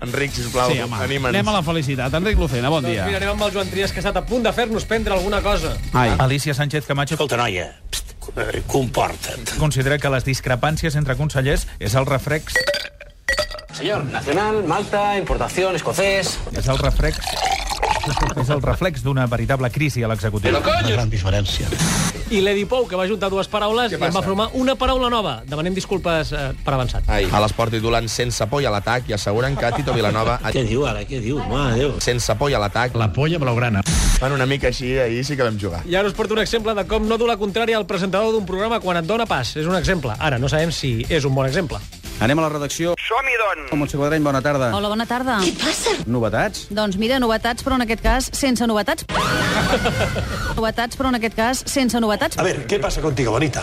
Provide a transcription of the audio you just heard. Enric, sisplau, Sí, home. anima'ns. Anem a la felicitat. Enric Lucena, bon Doncs mira, dia. anem amb el Joan Trias, que ha estat a punt de fer-nos prendre alguna cosa. Ai. Alicia Sánchez Camacho Escolta, noia, pst, eh, comporta't. considera que les discrepàncies entre consellers és el reflex Señor, nacional, Malta, importación, escocés. és el reflex és el reflex d'una veritable crisi a l'executiu. Una gran diferència. I l'Edi Pou, que va juntar dues paraules i en va formar una paraula nova. Demanem disculpes eh, per avançat. Ai. A l'esport titulant sense por i a l'atac i asseguren que Tito Vilanova Què diu ara? Què diu? Mare de Déu. sense por i a l'atac. La polla blaugrana. Van una mica així, ahir sí que vam jugar. I ara us porto un exemple de com no dur la contrària al presentador d'un programa quan et dona pas. És un exemple. Ara, no sabem si és un bon exemple. Anem a la redacció. Som-hi, doncs! Montse Quadrany, bona tarda. Hola, bona tarda. passa? Novetats? Doncs mira, novetats, però en aquest cas sense novetats. novetats, però en aquest cas sense novetats. A ver, ¿qué pasa contigo, bonita?